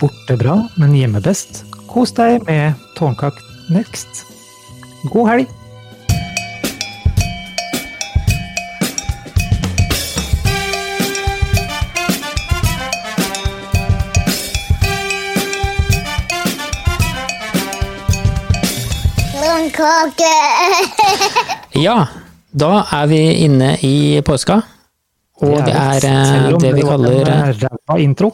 Borte bra, men hjemme best. Kos deg med Tårnkak next. God helg! Blomkake! Ja, da er vi inne i påska. Og det er eh, Selv om det vi var en, kaller eh, eh, ræva intro.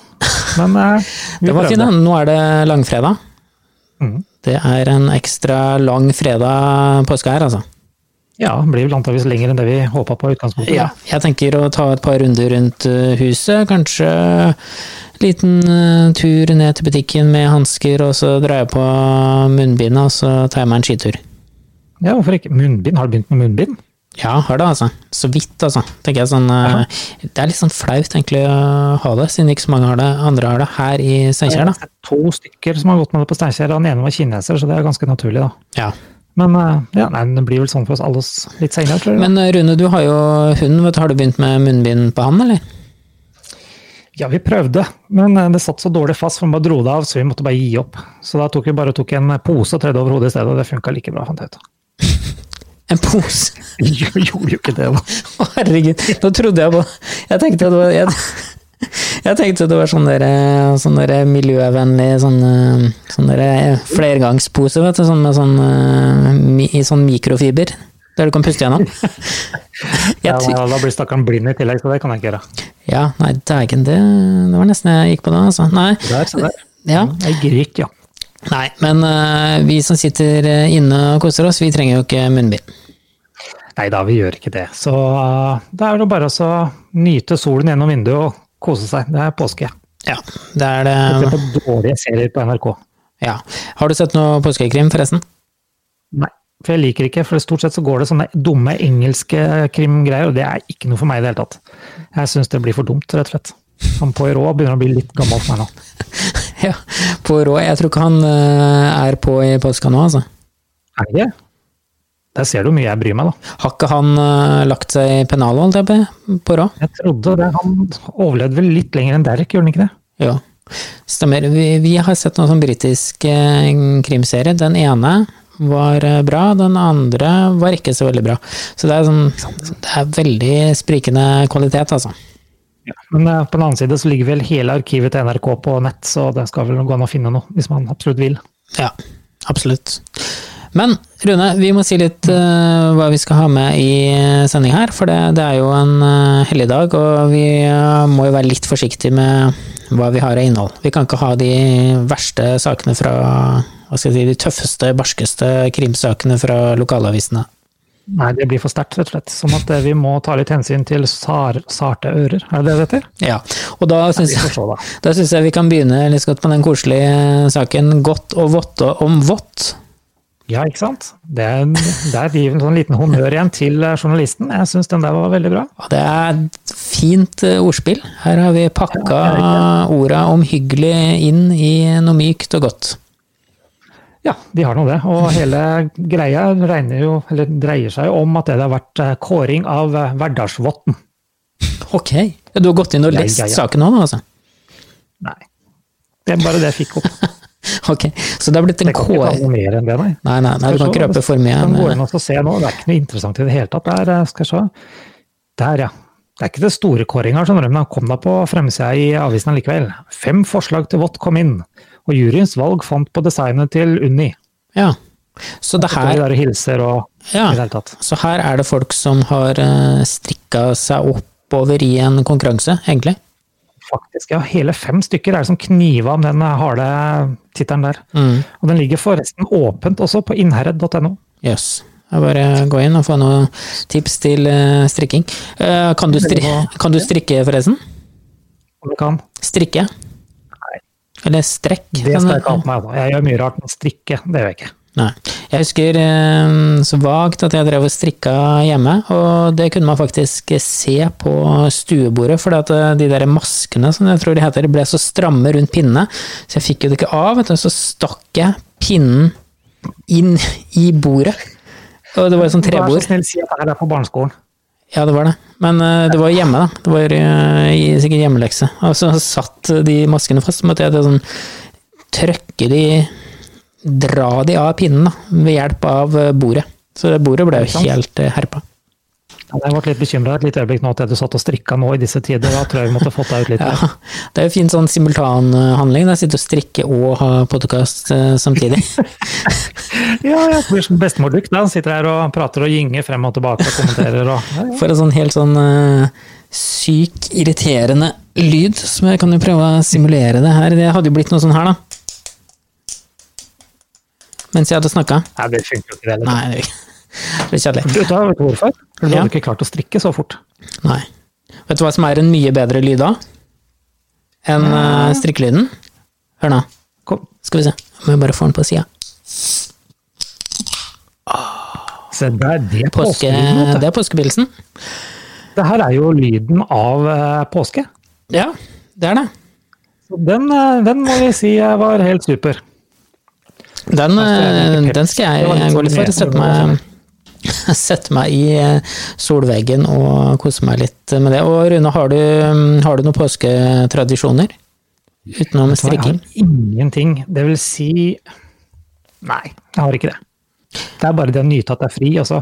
Men eh, vi Det var prøvde. fin, da. Nå er det langfredag. Mm. Det er en ekstra lang fredag påske her, altså. Ja, den blir vel antakeligvis lenger enn det vi håpa på i utgangspunktet. Jeg tenker å ta et par runder rundt eh, huset. Kanskje en liten eh, tur ned til butikken med hansker, og så drar jeg på munnbindet, og så tar jeg meg en skitur. Ja, hvorfor ikke? Munnbind? Har du begynt med munnbind? Ja, har det, altså. Så vidt, altså. Tenker jeg sånn, eh, det er litt sånn flaut egentlig å ha det, siden ikke så mange har det. andre har det her i Steinkjer. da. Det er To stykker som har gått med det på Steinkjer, og den ene var kineser, så det er ganske naturlig, da. Ja. Men eh, ja, nei, det blir vel sånn for oss alle s- litt senere, tror jeg. Men eh, Rune, du har jo hund. vet du. Har du begynt med munnbind på han, eller? Ja, vi prøvde, men eh, det satt så dårlig fast, for man bare dro det av, så vi måtte bare gi opp. Så da tok vi bare tok en eh, pose og tredde over hodet i stedet, og det funka like bra, fant jeg ut. En pose? Jo, Gjorde jo ikke det, da. Å, herregud. Da trodde jeg på Jeg tenkte at det var jeg, jeg tenkte at det var sånn der, eh, sånn der miljøvennlig sånn, eh, sånn der eh, flergangspose, vet du. Sånn med sånn, eh, mi, i sånn mikrofiber. Der du kan puste gjennom. Jeg, Ja, tr- da blir stakkaren blind i tillegg, så det kan jeg ikke gjøre. Ja, nei, dægen, det, det var nesten jeg gikk på da, altså. Nei, Der, se der. ja. Jeg gikk, ja. nei men eh, vi som sitter eh, inne og koser oss, vi trenger jo ikke munnbind. Nei da, vi gjør ikke det. Så eh, da er det jo bare å så nyte solen gjennom vinduet og kose seg. Det er påske. Ja, det er Se det. på dårlige serier på NRK. Ja. Har du sett noe påskekrim, forresten? Nei. For jeg liker ikke, for stort sett så går det sånne dumme engelske krimgreier, og det er ikke noe for meg i det hele tatt. Jeg syns det blir for dumt, rett og slett. Han Poirot begynner å bli litt gammel for meg nå. Ja, på Rå. Jeg tror ikke han eh, er på i påska nå, altså. Er det ikke? Der ser du hvor mye jeg bryr meg, da. Har ikke han eh, lagt seg i pennalet, holdt jeg på, på Rå? Jeg trodde det, Han overlevde vel litt lenger enn Derek, gjorde han ikke det? Jo, stemmer. Vi, vi har sett noen sånn britisk eh, krimserie. Den ene var eh, bra, den andre var ikke så veldig bra. Så det er, sånn, det er veldig sprikende kvalitet, altså. Men eh, på den annen side så ligger vel hele arkivet til NRK på nett, så det skal vel gå an å finne noe, hvis man absolutt vil. Ja, absolutt. Men Rune, vi må si litt eh, hva vi skal ha med i eh, sending her, for det, det er jo en uh, helligdag, og vi eh, må jo være litt forsiktige med hva vi har av innhold. Vi kan ikke ha de verste sakene fra hva skal jeg si, De tøffeste, barskeste krimsakene fra lokalavisene. Nei, det blir for sterkt, rett og slett. Sånn at eh, vi må ta litt hensyn til sar, sarte ører, er det det det heter? Ja, og da syns Vi jeg får se, da. Da syns jeg vi kan begynne litt godt med den koselige saken Godt og vått og om vått. Ja, ikke sant? Det, er- der gir vi en sånn liten honnør igjen til eh, journalisten. Jeg syns den der var veldig bra. Ja, Det er et fint eh, ordspill. Her har vi pakka orda om hyggelig inn i noe mykt og godt. Ja, de har nå det. Og hele greia regner jo, eller dreier seg jo om at det har vært eh, kåring av eh, Verdalsvatn. Ok. Ja, Du har gått inn og Ja, lest ja, ja. saken nå, da, altså? Nei. Det er bare det jeg fikk opp. Ok, Så det har blitt en Det kan ikke ta kåring noe mer enn det, nei. Nei, nei, nei, du kan ikke røpe for mye. Kan gå men- inn og så se nå. Det er ikke noe interessant i det hele tatt. Der, eh, skal jeg se. Der, ja. Det er ikke det store kåringa, skjønner du, men han kom da på fremsida i avisen likevel. Fem forslag til vått kom inn, og juryens valg fant på designet til Unni. Ja. Så det Her, her der og hilser og ja. i det hele tatt. Så her er det folk som har strikka seg oppover i en konkurranse, egentlig. Faktisk, ja, hele fem stykker er det som kniver om den eh, harde tittelen der. Mm. Og den ligger forresten åpent også på innherred.no. Jøss. Det er Bare gå inn og få noen tips til eh, strikking. Eh, Kan du, stri kan du strikke, forresten? Om du kan. Strikke? Eller strekk? Det skal men- jeg ikke ha på meg. da. Jeg gjør mye rart, men strikke, det gjør jeg ikke. Nei. Jeg husker eh, så vagt at jeg drev og strikka hjemme, og det kunne man faktisk se på stuebordet, for de der maskene som jeg tror de heter, ble så stramme rundt pinnene, så jeg fikk jo det ikke av, vet du, så stakk jeg pinnen inn i bordet. Og det var jo sånn Vær så trebord. snill, si at det her er på barneskolen. Ja, det var det. Men eh, det var jo hjemme, da. Det var eh, i- sikkert hjemmelekse. Og så satt de maskene fast. Så måtte jeg til sånn trykke de Dra de av pinnen, da. Ved hjelp av eh, bordet. Så det bordet ble jo Sant. helt eh, herpa. Ja, Jeg ble litt bekymra et lite øyeblikk nå at du satt og strikka nå i disse tider. Da tror jeg vi måtte fått deg ut litt. Ja, det er jo fin sånn simultanhandling. da. Sitte og strikke og ha podkast samtidig. Ja, ja, det blir som bestemor Duck. da. Han sitter her og prater og gynger frem og tilbake og kommenterer og ja, ja. For en sånn helt sånn eh, syk, irriterende lyd, som jeg kan jo prøve å simulere det her. Det hadde jo blitt noe sånn her, da. Mens jeg hadde snakka. Nei, det funker jo ikke det heller. Nei, det er ikke- det blir kjedelig. Du, da, vet du hvorfor? For du Ja. hadde ikke klart å strikke så fort. Nei. Vet du hva som er en mye bedre lyd da? Enn eh, strikkelyden? Hør nå. Kom. Skal vi se. Må jeg bare få den på sida. Se der, det er Påske, påskelyden, vet du. det er påskepilsen. Det her er jo lyden av eh, påske. Ja, det er det. Så den, eh, den må vi si eh, var helt super. Den, eh, den skal Det var litt jeg, jeg gå sånn litt med- for. Sette meg, sette meg i eh, solveggen og kose meg litt med det. Og Rune, har du, mm, har du noen påsketradisjoner? Utenom Så jeg har strikking? ingenting. Det vil si Nei, jeg har ikke det. Det er bare det å nyte at det er fri. Og så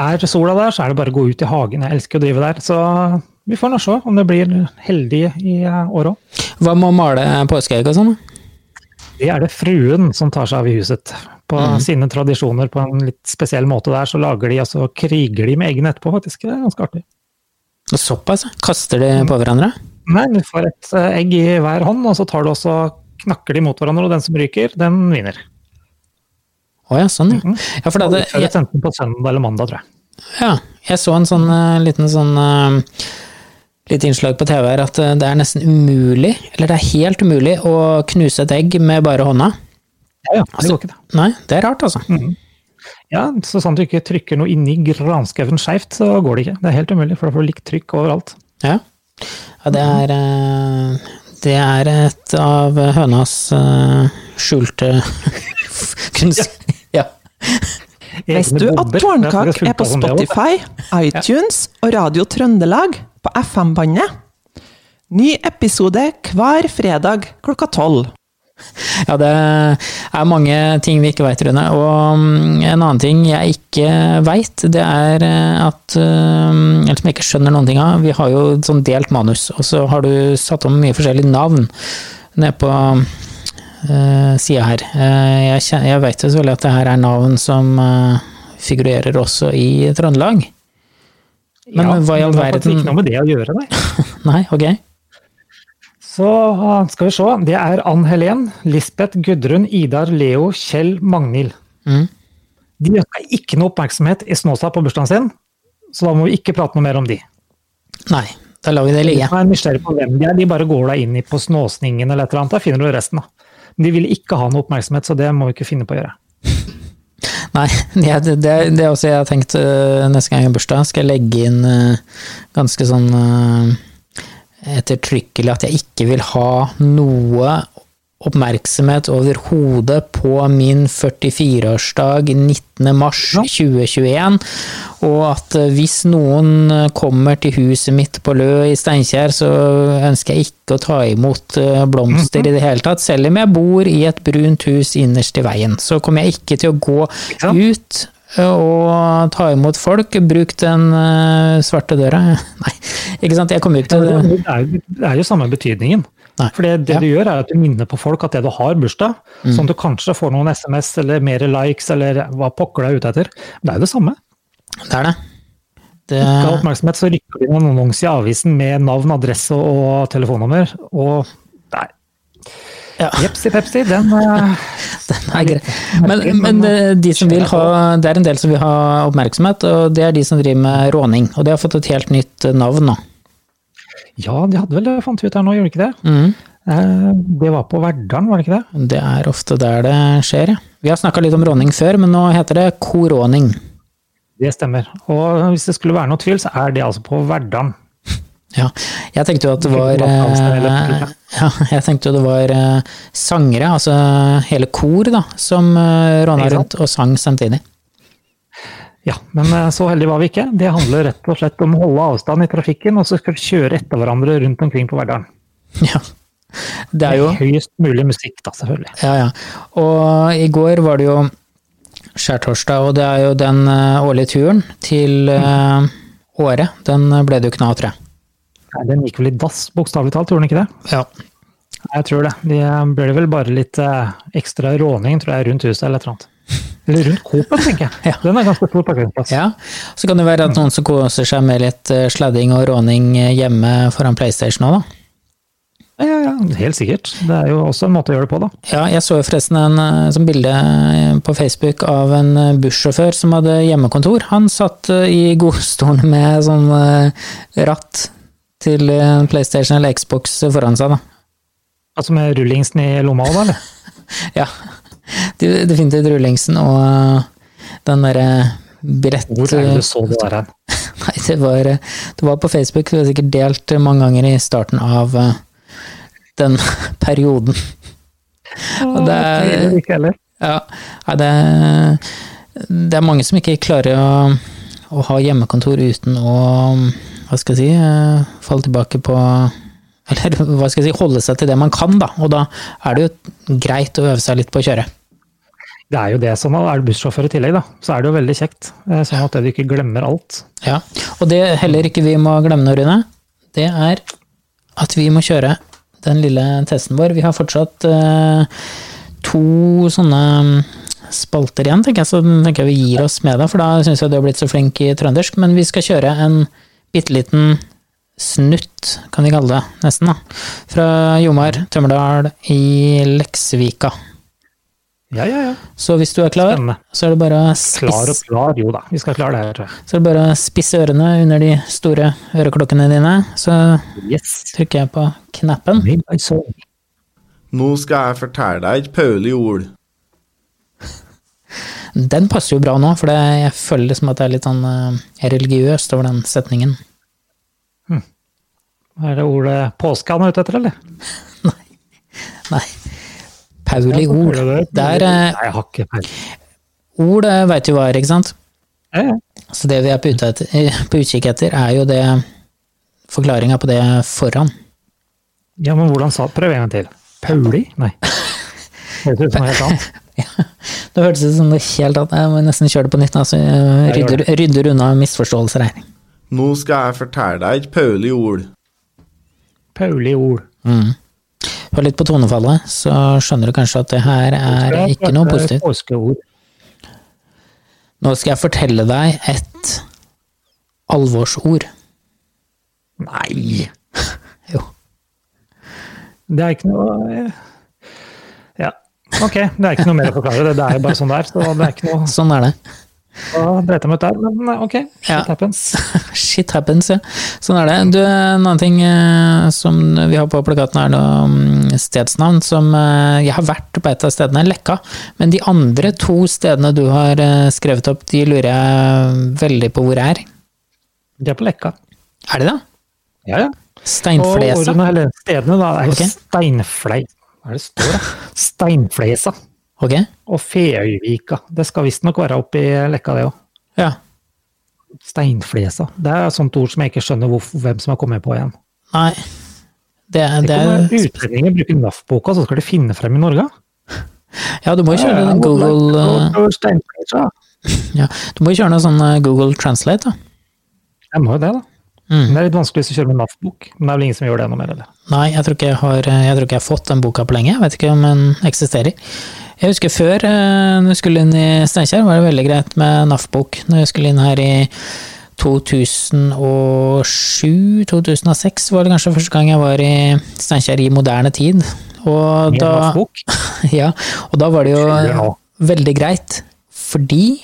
er sola der, så er det bare å gå ut i hagen. Jeg elsker å drive der. Så vi får nå se om det blir heldig i eh, år òg. Hva med å male påskeegg og sånn? da? Det er det fruen som tar seg av i huset. På sine tradisjoner på en litt spesiell måte der, så lager de, og så kriger de med eggene etterpå, faktisk. Det er ganske artig. Og Såpass? ja. Kaster de på hverandre? Nei, du får et eh, egg i hver hånd, og så tar du også knakker de mot hverandre, og den som ryker, den vinner. Å ja, sånn, ja. Mhm. ja for det, Det, hadde- jeg, Enten på søndag eller mandag, tror jeg. ja. Jeg så en sånn eh, liten sånn eh, Litt innslag på TV her at eh, det er nesten umulig, eller det er helt umulig, å knuse et egg med bare hånda. Ja, ja, det går ikke det. Nei, det er rart, altså. Ja, så sant du ikke trykker noe inni granskauen skeivt, så går det ikke. Det er helt umulig, for da får du likt trykk overalt. Ja. ja det, er, eh, det er et av hønas eh, skjulte kunst... Ja. Visste Egne du at bomber. Tårnkak Jeg tror er det på funker som det også. Spotify, iTunes og Radio Trøndelag på FM-bandet? Ny episode hver fredag klokka tolv. ja, det er mange ting vi ikke veit, Rune. Og mm, en annen ting jeg ikke veit, det er eh, at eh, Eller som jeg ikke skjønner noen ting av. Vi har jo et sånn delt manus, og så har du satt om mye forskjellige navn nede på uh, sida her. Eh, jeg kjen- jeg veit jo selvfølgelig at det her er navn som eh, figurerer også i Trøndelag. Men Ja, hva i all det har faktisk Ikke verden noe med det å gjøre, nei. Nei, ok. Så ah, skal vi se. Det er Ann Helen, Lisbeth, Gudrun, Idar, Leo, Kjell, Magnhild. Mm. De ønska ikke noe oppmerksomhet i Snåsa på bursdagen sin, så da må vi ikke prate noe mer om de. Nei, da lar vi det ligge. Hvis man er nysgjerrig på hvem de er, de bare går deg inn i på Snåsningen eller et eller annet, da finner du resten, da. Men de ville ikke ha noe oppmerksomhet, så det må vi ikke finne på å gjøre. Nei, det, det, det det er også jeg har tenkt øh, neste gang jeg har bursdag, skal jeg legge inn øh, ganske sånn øh, ettertrykkelig at jeg ikke vil ha noe oppmerksomhet overhodet på min 44-årsdag 19. mars 2021, og at øh, hvis noen øh, kommer til huset mitt på Lø i Steinkjer, så ønsker jeg ikke å ta imot øh, blomster i det hele tatt, selv om jeg bor i et brunt hus innerst i veien, så kommer jeg ikke til å gå sant? ut eh, og ta imot folk. Bruk den eh, svarte døra. Nei, ikke sant. Jeg kommer jo ikke Det til er, jo- det er jo samme betydningen. Nei. For det, det Ja. Mm. du gjør, er at du minner på folk at det du har bursdag, sånn at du kanskje får noen SMS eller mer likes eller hva pokker du er ute etter. Det er jo det samme. Det er det. det Ikke ha oppmerksomhet, så rykker du inn en annonse i avisen med navn, adresse og telefonnummer, og nei. Ja. Jepsi pepsi, den eh, den er grei. Men, men eh, de som vil ha, det er en del som vil ha oppmerksomhet, og det er de som driver med råning. Og det har fått et helt nytt eh, navn nå. Ja, de hadde vel det, fant vi ut her nå, gjorde de ikke det? Mm. Eh, Det var på Verdalen, var det ikke det? Det er ofte der det skjer, ja. Vi har snakka litt om råning før, men nå heter det koråning. Det stemmer. Og hvis det skulle være noe tvil, så er det altså på Verdalen. Ja, jeg tenkte jo at det Ikke var Johansen eller eh, Petra. ja, Jeg tenkte jo det var eh, sangere, altså hele kor, da, som eh, råna Ikke sant? rundt og sang samtidig. Ja, men eh, så heldige var vi ikke. Det handler rett og slett om å holde avstand i trafikken, og så skal vi kjøre etter hverandre rundt omkring på Verdalen. Ja. Det er jo Med Høyest mulig musikk, da, selvfølgelig. Ja, ja. Og i går var det jo skjærtorsdag, og det er jo den eh, årlige turen til eh, Åre. Den eh, ble det jo ikke noe av, tror jeg. Nei, Den gikk vel i dass, bokstavelig talt, gjorde den ikke det? Ja. Nei, Jeg tror det. De eh, ble vel bare litt eh, ekstra råning, tror jeg, rundt huset eller et eller annet. Eller rundt Coop, tenker jeg. Den er ganske stor parkeringsplass. Så kan det være at noen som koser seg med litt eh, sladding og råning eh, hjemme foran PlayStation òg, da. Ja, ja, ja, helt sikkert. Det er jo også en måte å gjøre det på, da. Ja, jeg så jo forresten en eh, sånn bilde eh, på Facebook av en eh, bussjåfør som hadde hjemmekontor. Han satt eh, i godstolen med sånn eh, ratt til eh, PlayStation eller Xbox foran seg, da. Altså med rullingsen i lomma òg, da? eller? Ja, de- definitivt rullingsen og øh, den derre brett... Hvor er det du så det der hen? Nei, det var, øh, det var på Facebook, det var sikkert delt øh, mange ganger i starten av øh, den perioden. Og det er- Det vil ikke heller. Ja, nei, det, det er mange som ikke klarer å, å ha hjemmekontor uten å, hva skal jeg si, øh, falle tilbake på eller hva skal jeg si, holde seg til det man kan, da. Og da er det jo greit å øve seg litt på å kjøre. Det er jo det som er du bussjåfør i tillegg, da. Så er det jo veldig kjekt. eh, Sånn at du ikke glemmer alt. Ja, og det heller ikke vi må glemme nå, Rune, det er at vi må kjøre den lille testen vår. Vi har fortsatt eh, to sånne mm, spalter igjen, tenker jeg, så den tenker jeg vi gir oss med det, for da syns jeg du har blitt så flink i trøndersk, men vi skal kjøre en bitte liten snutt, kan vi kalle det, nesten, da, fra Jomar Tømmerdal i Leksvika. Ja, ja, ja. Så hvis du er klar, Spennende. så er det bare å Klar spisse og klar, jo da. Vi skal klare det her, tror jeg. så er det bare å spisse ørene under de store øreklokkene dine, så Yes. trykker jeg på knappen. Midnight Soul. Nå skal jeg fortelle deg et pauleord. Den passer jo bra nå, for det, jeg føler liksom at det er litt sånn eh, religiøst over den setningen. Er det ordet påske han er ute etter, eller? Nei. Pauli ord. Der, Nei, eh, jeg har ikke peiling. ord eh, vet du hva er, ikke sant? Ja, ja. Så det vi er på, ute etter, eh, på utkikk etter, er jo det forklaringa på det foran. Ja, men hvordan sa Prøv en gang til. Pauli? Nei. Høres ut som noe helt annet. Det hørtes ut som det helt annet. Jeg må nesten kjøre det på nytt, da, så jeg gjør rydder, rydder unna misforståelser her. Nå skal jeg fortelle deg et pauleord. Pauli ord. Hør litt på tonefallet, så skjønner du kanskje at det her er ikke noe positivt. eh, Påskeord. Nå skal jeg fortelle deg et alvorsord. Nei! Jo. Det er ikke noe eh, Ja. Ok, det er ikke noe mer å forklare. Det, det er jo bare sånn det er. Så det er ikke noe Sånn er det. å brette meg ut der. Men eh, ok, shit Ja. happens. Shit happens, ja. Sånn er det. Du, en annen ting eh, som vi har på plakaten er noe mm, stedsnavn som eh, Jeg har vært på et av stedene, Lekka, men de andre to stedene du har eh, skrevet opp, de lurer jeg veldig på hvor er. De er på lekka. Er de det? Ja, ja. Og Steinflesa? ordene, eller stedene, da, er jo Ok. steinflei... Hva er det står, da? Steinflesa Ok. og Feøyvika. Det skal visstnok være oppi lekka, det òg. Ja. Steinflesa. Det er et sånt ord som jeg ikke skjønner hvorf- hvem som har kommet på igjen. Nei. Det, det Kommer er Utlendinger bruker NAF-boka, så skal de finne frem i Norge? Ja, du må jo kjøre Ja, den Google eh, og- og Steinflesa. Ja, du må jo kjøre noe sånn eh, Google Translate, da. Jeg må jo det, da. Mm. Det er litt vanskelig hvis du kjører med NAF-bok, men det er vel ingen som gjør det noe mer, eller? Nei, jeg tror ikke jeg har, eh, jeg tror ikke jeg har fått den boka på lenge. Jeg vet ikke om den eksisterer. Jeg husker før, eh, når jeg skulle inn i Steinkjer, var det veldig greit med NAF-bok. Når jeg skulle inn her i 2007-2006 var det kanskje første gang jeg var i Steinkjer i moderne tid. Og Med da, NAF-bok? ja, og da var det jo Fyller nå. veldig greit, fordi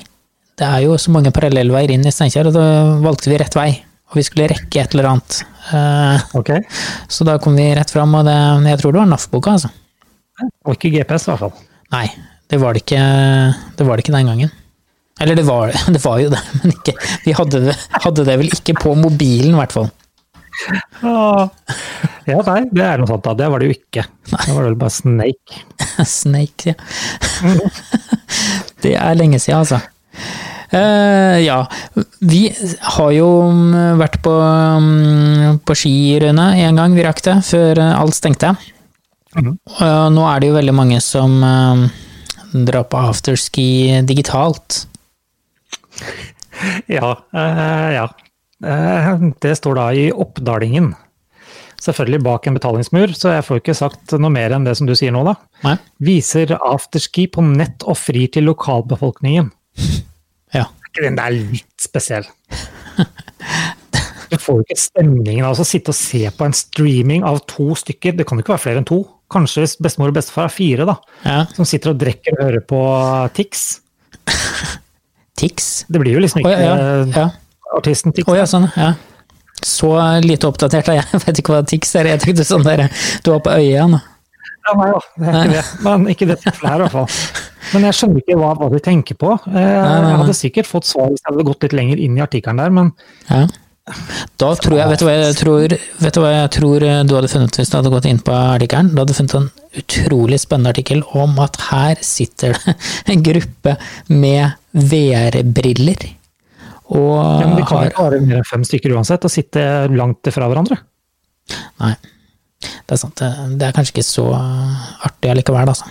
det er jo så mange parallellveier inn i Steinkjer, og da valgte vi rett vei. Og vi skulle rekke et eller annet. Eh, Ok. Så da kom vi rett fram, og det, jeg tror det var NAF-boka, altså. Og ikke GPS, i hvert fall. Nei, det var det ikke, det var det ikke den gangen. Eller det var, det var jo det, men ikke, vi hadde det, hadde det vel ikke på mobilen, i hvert fall. Ja, nei, det er noe sånt. da. Det var det jo ikke. Det var vel bare Snake. Snake, ja. Det er lenge siden, altså. Eh, ja. Vi har jo mm, vært på, mm, på ski, Rune, en gang. Vi rakk det før eh, alt stengte. Mhm. Og nå er det jo veldig mange som eh, drar på afterski digitalt. Ja. eh, ja. Eh, det står da i Oppdalingen. Selvfølgelig bak en betalingsmur, så jeg får ikke sagt noe mer enn det som du sier nå, da. Nei? Viser afterski på nett og frir til lokalbefolkningen. Ja. Er ikke den der litt spesiell? Du får jo ikke stemningen av å sitte og se på en streaming av to stykker. Det kan jo ikke være flere enn to. Kanskje hvis bestemor og bestefar er fire, da. ja. Som sitter og drikker og hører på Tix. Tix. Det blir jo liksom Å ikke ja, ja. ja. eh, artisten Tix. Å ja, sånn. ja. Så lite oppdatert er jeg. Jeg vet ikke hva Tix er. Jeg tenkte sånn der Du var på øya nå. Ja, nei da, det er ikke det. Men ikke det tilfellet her, i hvert fall. Men jeg skjønner ikke hva, hva de tenker på. Eh, nei, Jeg nei. hadde sikkert fått svar hvis jeg hadde gått litt lenger inn i artikkelen der, men Ja. Da tror jeg, vet du hva jeg tror, vet du hva jeg tror eh, du hadde funnet hvis du hadde gått inn på artikkelen? Du hadde funnet en utrolig spennende artikkel om at her sitter det en gruppe med VR-briller. Og ja, men de kan har ikke være mer enn fem stykker uansett og sitte langt fra hverandre. Nei, det er sant. det- Det er kanskje ikke så artig allikevel, altså.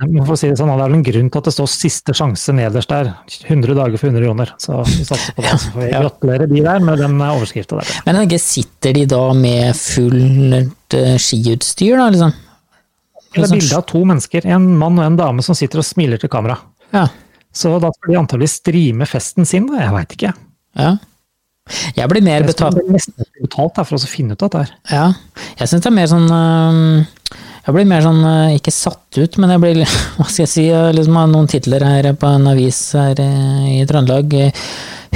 Nei, men For å si det sånn, Det er vel en grunn til at det står 'siste sjanse' nederst der. 100 dager for 100 kroner. Så vi satser på det. Så får vi Ja. gratulere de der med den overskrifta der. Men jeg tenker, sitter de da med fullt eh, skiutstyr, da, liksom? Det er bilde av to mennesker, en mann og en dame, som sitter og smiler til kamera. Ja. Så da skal de antagelig streame festen sin, da. Jeg veit ikke. ja. Jeg blir mer Jeg betatt skulle nesten betalt der for å finne ut av dette her. Ja, jeg syns det er mer sånn øhm, Jeg blir mer sånn øh, ikke satt ut, men jeg blir litt- Hva skal jeg si? øh, Liksom av noen titler her på en avis her øh, i Trøndelag. øh,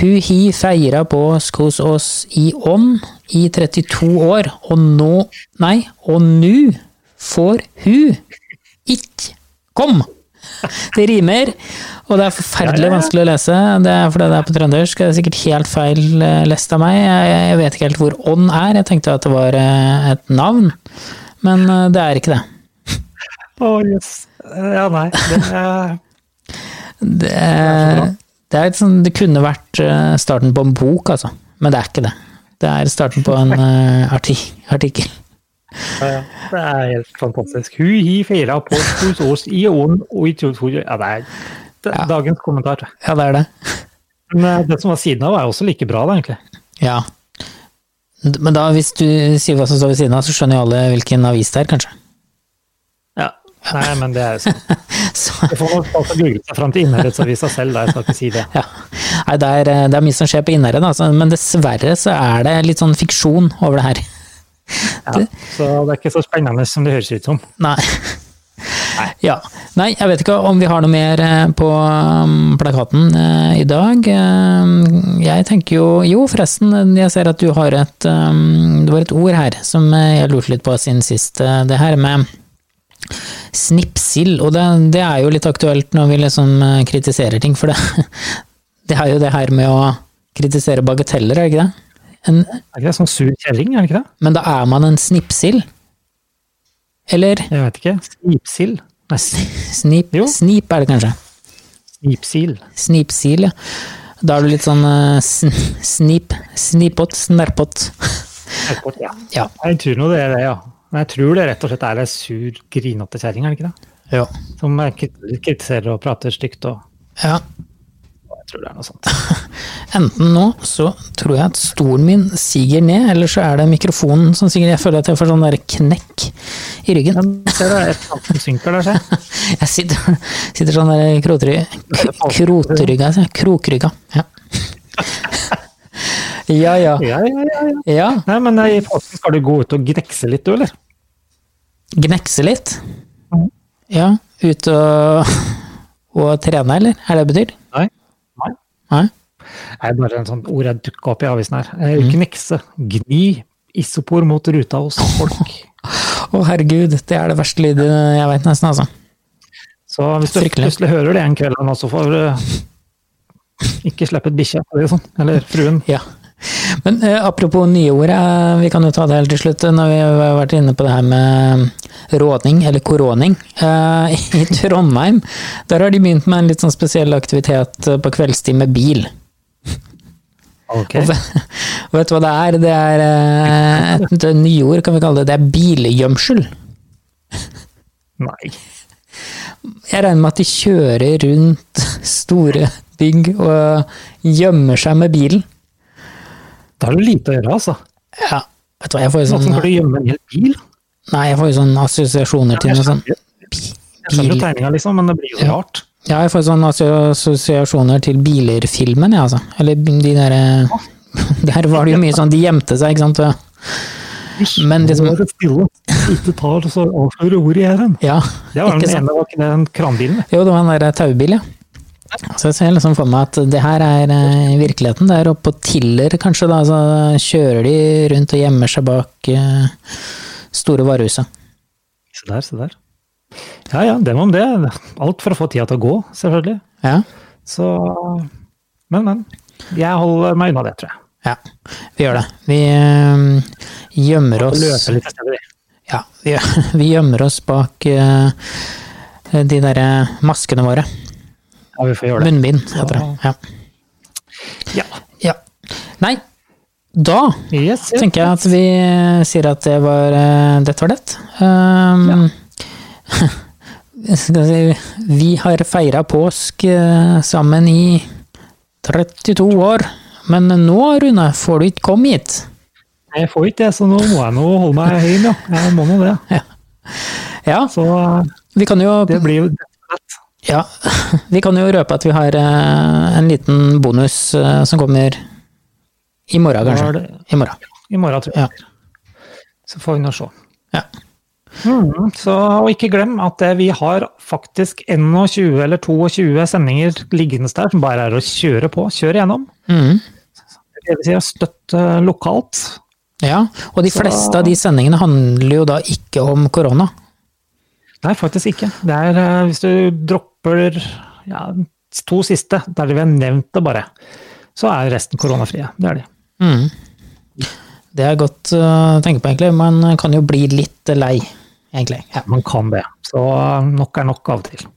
Hu hi feira på hos oss i ånd i 32 år, og nå Nei, og nu får hu ikk kom! Det rimer, og det er forferdelig vanskelig å lese. Det er fordi det er på trøndersk. Det er sikkert helt feil eh, lest av meg. Jeg, jeg vet ikke helt hvor ånd er. Jeg tenkte at det var eh, et navn, men eh, det er ikke det. Å, jøss. Ja, nei. Det er, Det, det, er litt sånn, det kunne vært eh, starten på en bok, altså. Men det er ikke det. Det er starten på en eh, arti artikkel. det er helt fantastisk. Hu hi feira på hos oss i åen og i to to- Ja, det er det er dagens kommentar. Ja, det er det. Men eh, det som var siden av, er også like bra, da, egentlig. Ja. D- Men da, hvis du sier hva som står ved siden av, så skjønner jo alle hvilken avis det er, kanskje. Ja. Nei, men det er jo sånn. Så, Det får man altså google seg fram til Innherredsavisa selv, da. Jeg skal ikke si det. ja. Nei, det er, eh, det er mye som skjer på Innherred, altså, men dessverre så er det litt sånn fiksjon over det her. Ja. Så det er ikke så spennende som det høres ut som. Nei. Ja. Nei, jeg vet ikke om vi har noe mer eh, på um, plakaten eh, i dag. Eh, Jeg tenker jo Jo, forresten, jeg ser at du har et um, Det var et ord her som eh, jeg lurte litt på siden sist. eh, Det her med snipsild. Og det, det er jo litt aktuelt når vi liksom eh, kritiserer ting, for det, det er jo det her med å kritisere bagateller, er det ikke det? En, Er ikke det sånn sur kjerring, er det ikke det? men da er man en snipsild? Eller? Jeg vet ikke. Snipsild? Nei, sni- Snip, Jo. snip er det kanskje. snipsild. Snipsil, ja. Da er du litt sånn eh, sn snip, snipot, snerpot. Airport, Ja. Ja. Jeg tror nå det er det, ja. Men jeg tror det rett og slett er ei sur, grinete kjerring, er det ikke det? Ja. Som eh, krit- kritiserer og prater stygt og ja. Jeg tror det er noe sånt. Enten nå så tror jeg at stolen min siger ned, eller så er det mikrofonen som siger. Jeg føler at jeg får sånn der knekk i ryggen. Men ser du, et eller annet som synker der, se. Jeg sitter, sitter sånn der krotry, k- krotrygga, sier jeg. krokrygga. Ja. ja, ja. Ja, ja, ja, ja. Ja, Nei, men eh, i påsken skal du gå ut og gnekse litt, du, eller? gnekse litt. Mm. Ja, ut og, og trene, eller? Er det det betyr? Nei. Nei. Nei? Det er bare en sånn ord jeg dukka opp i avisen her. Eh, Gnekse. Gni isopor mot ruta hos folk. Å, herregud, det er det verste lydet jeg veit, nesten, altså. Så hvis du Fryktelig. plutselig hører det en kveld, nå, så får du ikke slippe et bikkje, for å si det sånn. Eller fruen. Ja. Men eh, apropos nye ord, eh, vi kan jo ta det helt til slutt eh, når vi har vært inne på det her med rådning, eller koroning. Eh, I Trondheim der har de begynt med en litt sånn spesiell aktivitet eh, på kveldstid med bil. Ok. Og ve- og vet du hva det er? Det er eh, et nyord, kan vi kalle det. Det er bilgjømsel. Nei. Jeg regner med at de kjører rundt store bygg og gjemmer seg med bilen. Da har du lite å gjøre, altså. Ja, vet du hva, jeg får jo Sånn sånn skal du gjemme en hel bil. Nei, jeg får jo sånne assosiasjoner til noe sånn Jeg skjønner jo Bil. tegninga, liksom, men det blir jo Ja. rart. sånn. Ja, jeg får sånne assosia- assosiasjoner til biler-filmen, jeg, altså. Eller de derre Der var det jo mye sånn De gjemte seg, ikke sant. og- Men liksom- Nå er det stille. Ikke tar så avslører ordet i æren. Ja, Det var ikke den sant. ene, var ikke det den kranbilen? det? Jo, det var en der eh, taubil, ja. Så jeg ser liksom for meg at det her er eh, virkeligheten. Det er oppe på Tiller, kanskje, da. Så kjører de rundt og gjemmer seg bak eh, store varehuset. Se der, se der. Ja ja, dem om det. Alt for å få tida til å gå, selvfølgelig. Ja. Så Men, men. Jeg holder meg unna det, tror jeg. ja. Vi gjør det. Vi eh, gjemmer oss Løpe litt i stedet. Ja, vi, vi gjemmer oss bak eh, de derre maskene våre. Ja, vi får gjøre det. Munnbind, heter det. Ja. Ja. ja. Nei, da Yes, yes. tenker jeg at vi sier at det var eh, Dette var det. Um, skal vi si, vi har feira påsk eh, sammen i 32 år, men nå, Rune, får du ikke komme hit. Jeg får ikke det, så nå må jeg nå holde meg høyere. Ja. Jeg må nå det. Ja, Så eh, vi kan jo det blir jo Ja, vi kan jo røpe at vi har eh, en liten bonus eh, som kommer i morgen, Hva er kanskje. det? I morgen. i morgen, tror Ja. jeg. Så får vi nå se. Ja. Mm, så, og ikke glem at eh, vi har faktisk ennå 20 eller 22 sendinger liggende der som bare er å kjøre på. Kjøre gjennom. Mhm. Det vil si å støtte eh, lokalt. ja. Og de Så- fleste av de sendingene handler jo da ikke om korona. Nei, faktisk ikke. Det er eh, hvis du dropper ja, to siste, der vi har nevnt det bare, så er resten koronafrie. Det er de. Mhm. Det er godt eh, å tenke på, egentlig. Man kan jo bli litt lei, egentlig. Ja. Man kan det. Så eh, nok er nok av og til.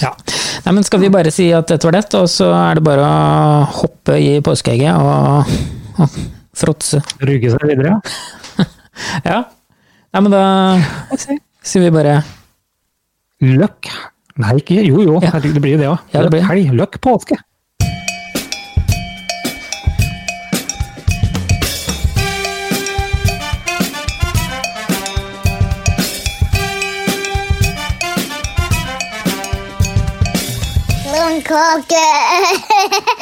ja. Nei, men skal vi bare si at dette var det, og så er det bare å hoppe i påskeegget og, og fråtse. Ruge seg videre. Ja. Nei, men da sier vi bare Løkk. Nei, ikke Jo, jo. Ja. Herregud, det blir jo det òg. Ja, det blir det. Helg. Løkk påske. Lundkake.